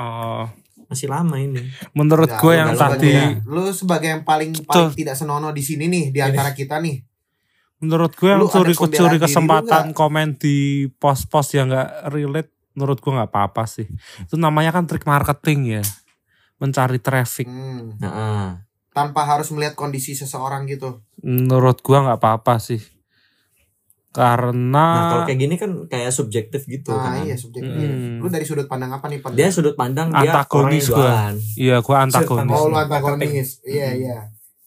Speaker 3: Oh,
Speaker 2: Masih lama ini.
Speaker 3: menurut
Speaker 1: Nah,
Speaker 3: gue
Speaker 1: lu
Speaker 3: yang
Speaker 1: nggak- lu
Speaker 3: tadi,
Speaker 1: nggak- lu sebagai yang paling paling tidak senono di sini nih di antara kita nih.
Speaker 3: menurut gue yang
Speaker 1: Lu ada pembelaan
Speaker 3: curi-curi
Speaker 1: diri lu
Speaker 3: kesempatan komen di post-post yang gak relate, menurut gue nggak apa-apa sih. Itu namanya kan trik marketing ya, mencari traffic.
Speaker 1: Hmm.
Speaker 2: Nah, ah.
Speaker 1: Tanpa harus melihat kondisi seseorang gitu.
Speaker 3: Menurut gue nggak apa-apa sih. karena
Speaker 2: Nah, kalau kayak gini kan kayak subjektif gitu
Speaker 1: ah
Speaker 2: kan.
Speaker 1: iya subjektif
Speaker 3: Hmm.
Speaker 1: lu dari sudut pandang apa nih Pan?
Speaker 2: Dia sudut pandang dia
Speaker 3: Antagonis
Speaker 2: orang yang
Speaker 3: gua.
Speaker 2: jualan.
Speaker 3: iya gue antagonis
Speaker 1: oh lu
Speaker 4: Marketing.
Speaker 1: antagonis iya
Speaker 2: Hmm.
Speaker 1: iya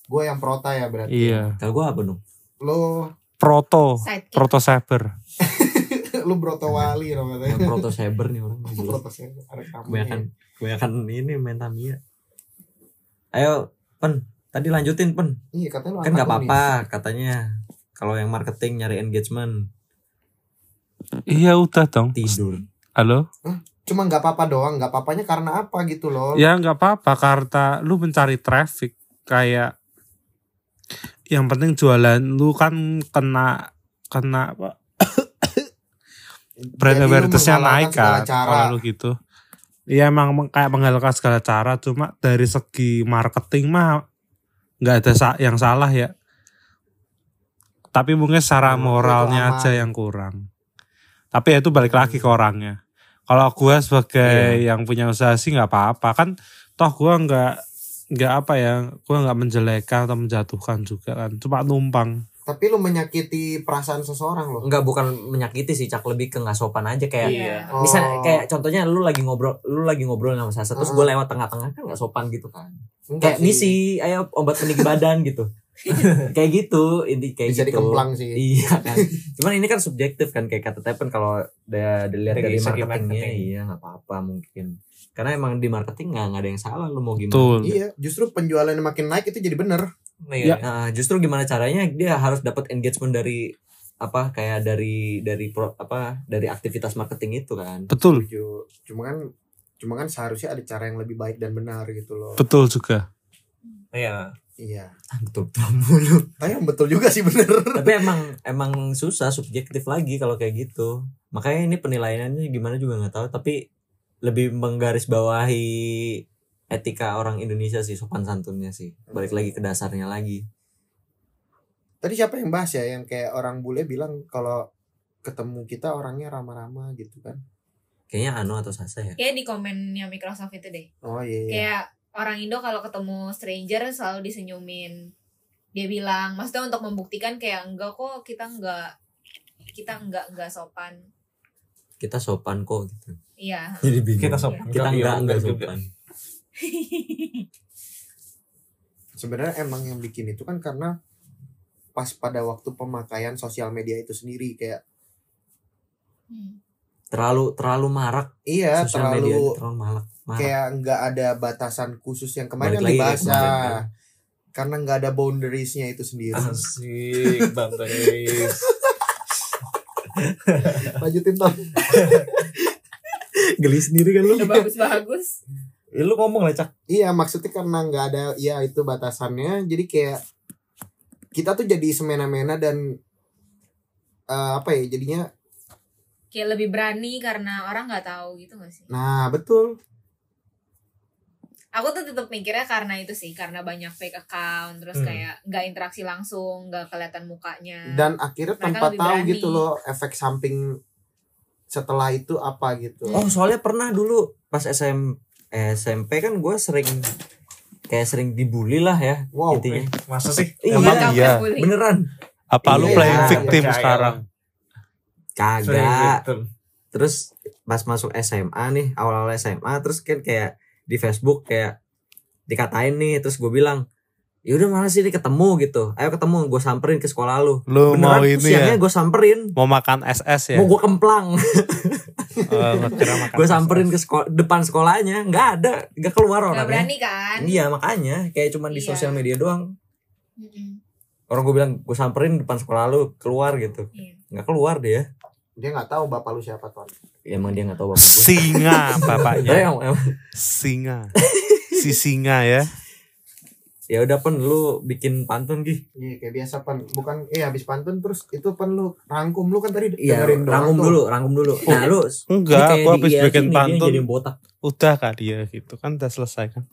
Speaker 1: gue yang prota ya berarti
Speaker 3: iya
Speaker 2: Kalau gua apa dong?
Speaker 1: lu (laughs)
Speaker 3: proto
Speaker 5: Sidekick.
Speaker 3: proto cyber
Speaker 1: lu broto wali
Speaker 2: Yang
Speaker 1: namanya
Speaker 2: proto cyber nih orang.
Speaker 1: broto saya ada kamu
Speaker 2: Kebanyakan kebanyakan ini main Tamiya. Ayo, Pen. Tadi lanjutin, Pen.
Speaker 1: iya katanya lu
Speaker 2: Kan nggak
Speaker 1: antagonis.
Speaker 2: apa-apa katanya. Kalau yang marketing nyari engagement,
Speaker 3: iya udah dong
Speaker 2: tidur.
Speaker 3: halo
Speaker 1: cuma nggak apa-apa doang nggak apa-apanya karena apa gitu loh
Speaker 2: Iya,
Speaker 3: ya nggak apa-apa karena lu mencari traffic kayak yang penting jualan lu kan kena kena apa brand
Speaker 1: Jadi lu
Speaker 3: awareness-nya
Speaker 1: menghalalkan
Speaker 3: naik
Speaker 1: segala
Speaker 3: kan
Speaker 1: cara.
Speaker 3: kalau lu gitu ya emang meng- kayak menghalalkan segala cara cuma dari segi marketing mah nggak ada sa- yang salah ya tapi mungkin secara
Speaker 1: Menurut lu
Speaker 3: moralnya
Speaker 1: aman.
Speaker 3: aja yang kurang tapi ya itu balik lagi ke orangnya kalau gua sebagai yang punya usaha sih nggak apa-apa kan toh gua nggak nggak apa ya gua nggak menjelekkan atau menjatuhkan juga kan cuma numpang
Speaker 1: tapi lu menyakiti perasaan seseorang loh
Speaker 2: Enggak bukan menyakiti sih, Cak, lebih ke nggak sopan aja kayak
Speaker 5: Iya.
Speaker 1: Oh.
Speaker 2: bisa kayak contonya lu lagi ngobrol lu lagi ngobrol sama Sasa terus
Speaker 1: Ah.
Speaker 2: gue lewat tengah-tengah kan gak sopan gitu kan
Speaker 1: Enggak
Speaker 2: kayak misi ayo obat peninggi badan gitu
Speaker 1: (laughs)
Speaker 2: kayak gitu inti kayak
Speaker 1: bisa
Speaker 2: gitu
Speaker 1: dikemplang sih
Speaker 2: iya kan cuman ini kan subjektif kan kayak kata Tepen kalau da- dilihat dari,
Speaker 4: Dari segi
Speaker 2: marketingnya
Speaker 4: marketing.
Speaker 2: iya nggak apa-apa mungkin karena emang di marketing nggak nggak ada yang salah lu mau gimana
Speaker 3: betul
Speaker 1: iya justru penjualan yang makin naik itu jadi bener
Speaker 4: Iya.
Speaker 2: Nah, justru gimana caranya dia harus dapat engagement dari apa kayak dari dari pro, apa dari aktivitas marketing itu kan
Speaker 3: betul
Speaker 1: Setuju. cuma kan cuma kan seharusnya ada cara yang lebih baik dan benar gitu loh
Speaker 3: betul juga
Speaker 4: Iya.
Speaker 1: iya
Speaker 2: Ah, betul betul mulu.
Speaker 1: tapi yang betul juga sih (laughs) bener
Speaker 2: tapi emang emang susah subjektif lagi kalau kayak gitu makanya ini penilaiannya gimana juga nggak tahu tapi lebih menggarisbawahi etika orang Indonesia sih sopan santunnya sih balik lagi ke dasarnya lagi
Speaker 1: tadi siapa yang bahas ya yang kayak orang bule bilang kalau ketemu kita orangnya ramah-ramah gitu kan
Speaker 2: kayaknya Anu atau Sasa ya
Speaker 5: Kayak di komennya Microsoft itu deh.
Speaker 1: oh iya, iya.
Speaker 5: Kayak orang Indo kalau ketemu stranger selalu disenyumin. Dia bilang, maksudnya untuk membuktikan kayak enggak kok kita enggak kita enggak enggak sopan.
Speaker 2: kita sopan kok gitu
Speaker 5: Iya.
Speaker 2: jadi bingung
Speaker 4: Kita sopan.
Speaker 2: kita
Speaker 4: Iya,
Speaker 2: enggak enggak
Speaker 4: juga.
Speaker 2: sopan
Speaker 1: sebenarnya emang yang bikin itu kan karena pas pada waktu pemakaian sosial media itu sendiri kayak
Speaker 5: Hmm.
Speaker 2: terlalu terlalu marak
Speaker 1: iya
Speaker 2: sosial
Speaker 1: terlalu
Speaker 2: media terlalu marak marak
Speaker 1: kayak nggak ada batasan khusus yang kemarin kan
Speaker 2: Balik lagi ke
Speaker 1: dibahas
Speaker 2: kemarin,
Speaker 1: ah.
Speaker 2: kan.
Speaker 1: karena nggak ada boundariesnya itu sendiri
Speaker 2: Ah.
Speaker 4: Asik, Bang
Speaker 2: (laughs)
Speaker 4: Teris.
Speaker 1: lanjutin Tom
Speaker 2: geli sendiri
Speaker 4: Iya.
Speaker 2: kan lu
Speaker 5: Udah bagus-bagus.
Speaker 2: ya, lu ngomong lah cak
Speaker 1: iya maksudnya karena nggak ada ya itu batasannya jadi kayak kita tuh jadi semena-mena dan eh, apa ya jadinya
Speaker 5: Kayak lebih berani karena orang nggak tahu gitu gak sih?
Speaker 1: nah betul
Speaker 5: aku tuh tetap mikirnya karena itu sih karena banyak fake account terus
Speaker 4: Hmm.
Speaker 5: kayak nggak interaksi langsung nggak kelihatan mukanya
Speaker 1: dan akhirnya
Speaker 5: Hmm. Mereka
Speaker 1: tanpa
Speaker 5: lebih
Speaker 1: tahu
Speaker 5: berani.
Speaker 1: gitu loh efek samping setelah itu apa gitu
Speaker 2: Oh soalnya pernah dulu pas SM SMP kan gue sering kayak sering dibully lah ya
Speaker 1: wow
Speaker 2: intinya.
Speaker 4: Masa sih?
Speaker 2: Iya,
Speaker 3: Emang iya?
Speaker 5: bener
Speaker 2: Beneran?
Speaker 3: apa lu
Speaker 1: Iya,
Speaker 3: playing
Speaker 1: iya,
Speaker 3: victim
Speaker 4: percaya.
Speaker 3: sekarang
Speaker 2: Kagak.
Speaker 4: Betul.
Speaker 2: Terus pas masuk SMA nih awal-awal SMA terus kan kayak di Facebook kayak dikatain nih terus gue bilang ya udah mana sih ini ketemu gitu ayo ketemu gue samperin ke sekolah lu
Speaker 3: lu mau
Speaker 2: terus
Speaker 3: ini
Speaker 2: siangnya
Speaker 3: ya
Speaker 2: gue samperin
Speaker 3: mau makan SS ya
Speaker 2: mau gue (laughs) kemplang
Speaker 3: Eh, gua kira makan
Speaker 2: gue
Speaker 3: SS.
Speaker 2: samperin ke sekolah depan sekolahnya nggak ada nggak keluar
Speaker 5: nggak
Speaker 2: orangnya
Speaker 5: berani kan
Speaker 2: iya makanya kayak cuman di
Speaker 5: Iya.
Speaker 2: sosial media doang
Speaker 5: Mm-mm.
Speaker 2: orang gue bilang gue samperin depan sekolah lu keluar gitu
Speaker 5: Iya.
Speaker 2: nggak keluar dia
Speaker 1: dia nggak tahu bapak lu siapa tuan
Speaker 2: ya, emang dia nggak tahu bapak gue
Speaker 3: singa bapaknya
Speaker 2: ya, emang-
Speaker 3: singa si singa ya
Speaker 2: (laughs) ya udah pen lu bikin pantun gih
Speaker 1: Iya kayak biasa pan bukan eh habis pantun terus itu pan lu rangkum lu kan tadi
Speaker 2: iya
Speaker 1: dengerin doang
Speaker 2: rangkum
Speaker 1: tuh.
Speaker 2: dulu rangkum dulu nah lu ini
Speaker 3: enggak
Speaker 2: kayak
Speaker 3: gua
Speaker 2: di
Speaker 3: habis
Speaker 2: IAS
Speaker 3: bikin
Speaker 2: ini dia
Speaker 3: pantun
Speaker 2: jadi botak
Speaker 3: udah kali ya gitu kan udah selesai kan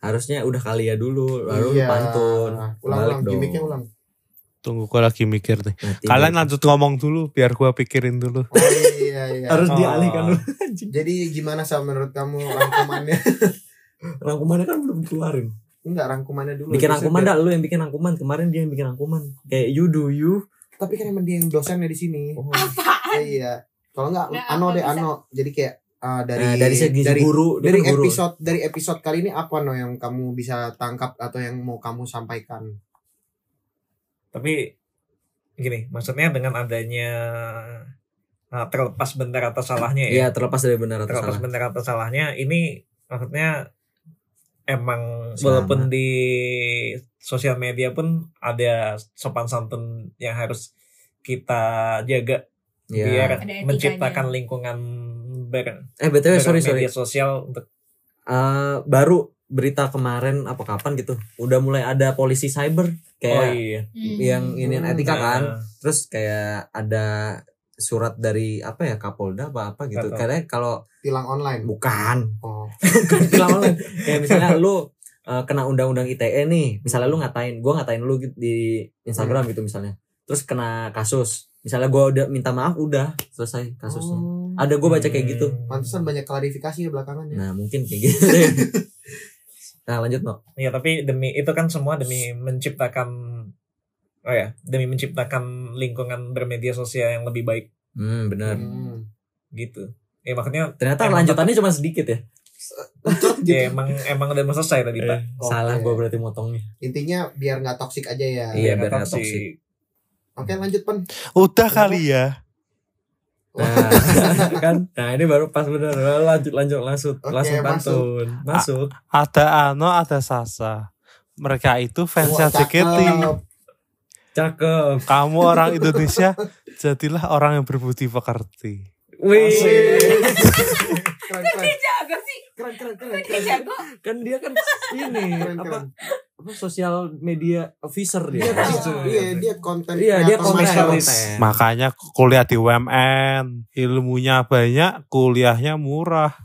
Speaker 2: harusnya udah kali ya dulu lalu lu
Speaker 1: Iya.
Speaker 2: pantun Nah,
Speaker 1: Ulang
Speaker 2: Balik
Speaker 1: ulang
Speaker 2: dong.
Speaker 1: gimmicknya
Speaker 2: (laughs)
Speaker 1: ulang.
Speaker 3: tunggu gua lagi mikir nih
Speaker 2: Nah, tiga.
Speaker 3: kalian lanjut ngomong dulu biar gua pikirin dulu
Speaker 1: Oh, iya iya.
Speaker 2: harus
Speaker 3: Oh.
Speaker 2: dialihkan dulu
Speaker 1: Jadi gimana sama menurut kamu rangkumannya? (laughs)
Speaker 2: rangkumannya kan belum keluarin
Speaker 1: Enggak rangkumannya dulu.
Speaker 2: bikin
Speaker 1: Biasanya
Speaker 2: rangkuman
Speaker 1: biar-
Speaker 2: dah lu yang bikin rangkuman kemarin dia yang bikin rangkuman kayak you do you
Speaker 1: tapi kan emang dia yang dosennya di sini
Speaker 2: Oh.
Speaker 1: Ya, iya kalau nggak
Speaker 5: Nggak,
Speaker 1: ano
Speaker 5: apa
Speaker 1: deh
Speaker 5: bisa.
Speaker 1: ano jadi kayak uh, dari
Speaker 2: Nah, dari segi
Speaker 1: dari,
Speaker 2: guru dia
Speaker 1: dari
Speaker 2: kan guru.
Speaker 1: episode dari episode kali ini apa no yang kamu bisa tangkap atau yang mau kamu sampaikan
Speaker 4: tapi gini maksudnya dengan adanya uh, terlepas benar atau salahnya ya
Speaker 2: Iya terlepas dari benar atau
Speaker 4: terlepas
Speaker 2: salah.
Speaker 4: benar atau salahnya ini maksudnya emang
Speaker 2: Sama.
Speaker 4: walaupun di sosial media pun ada sopan santun yang harus kita jaga biar
Speaker 2: Iya.
Speaker 5: Ada etikanya.
Speaker 4: menciptakan lingkungan ber,
Speaker 2: Eh btw sorry sorry.
Speaker 4: bermedia sosial untuk
Speaker 2: Eh, baru berita kemarin apa kapan gitu udah mulai ada polisi cyber
Speaker 4: oh
Speaker 2: kayak
Speaker 4: iya
Speaker 5: Hmm.
Speaker 2: yang ini
Speaker 1: Hmm.
Speaker 2: etika kan.
Speaker 4: Nah,
Speaker 2: Terus kayak ada surat dari apa ya Kapolda apa apa gitu.
Speaker 4: Nggak tahu.
Speaker 2: Karena kalau
Speaker 1: tilang online
Speaker 2: bukan
Speaker 1: oh
Speaker 2: film (laughs) lu kayak misalnya lu uh, kena undang-undang ITE nih misalnya lu ngatain gua ngatain lu gitu di
Speaker 4: Hmm.
Speaker 2: Instagram gitu misalnya terus kena kasus misalnya gua udah minta maaf udah selesai kasusnya
Speaker 1: Oh.
Speaker 2: ada gua baca kayak gitu
Speaker 4: hmm.
Speaker 1: pantesan banyak klarifikasi ya belakangan ya
Speaker 2: nah mungkin kayak gitu (laughs) nah lanjut no
Speaker 4: Iya tapi demi itu kan semua demi menciptakan oh ya demi menciptakan lingkungan bermedia sosial yang lebih baik
Speaker 2: hmm benar
Speaker 1: Hmm.
Speaker 4: gitu. Ya maksudnya
Speaker 2: ternyata
Speaker 4: Emang
Speaker 2: lanjutannya cuma sedikit ya (laughs)
Speaker 1: gitu.
Speaker 4: ya emang emang udah mau selesai tadi pak.
Speaker 1: Oke.
Speaker 2: Eh, salah gua berarti motongnya
Speaker 1: intinya biar nggak toksik aja ya
Speaker 2: Iya,
Speaker 4: Ya,
Speaker 2: biar nggak
Speaker 4: toksik.
Speaker 2: toksik.
Speaker 1: oke lanjut pen
Speaker 6: Udah kali ya.
Speaker 2: nah (laughs) kan nah ini baru pas bener lanjut lanjut langsung
Speaker 1: Oke,
Speaker 2: langsung
Speaker 1: masuk.
Speaker 2: pantun masuk
Speaker 6: Ada Ano, ada Sasa. Mereka itu fans JKT.
Speaker 1: Wah, cakep.
Speaker 2: cakep
Speaker 6: Kamu orang Indonesia, jadilah orang yang berbudi pekerti.
Speaker 2: wih
Speaker 1: keren
Speaker 5: Kok
Speaker 1: keren
Speaker 5: dia jago Iya, sih?
Speaker 1: keren keren keren
Speaker 5: Kok dia
Speaker 1: keren.
Speaker 5: jago?
Speaker 2: kan dia kan ini
Speaker 1: Keren,
Speaker 2: apa
Speaker 1: keren.
Speaker 2: apa sosial media officer
Speaker 1: Dia
Speaker 2: dia.
Speaker 1: kan,
Speaker 4: Iya.
Speaker 1: iya dia konten
Speaker 2: Iya, dia
Speaker 1: creator
Speaker 2: konten.
Speaker 1: masalah.
Speaker 4: Spesialis.
Speaker 6: Makanya kuliah di UMN, ilmunya banyak, kuliahnya murah.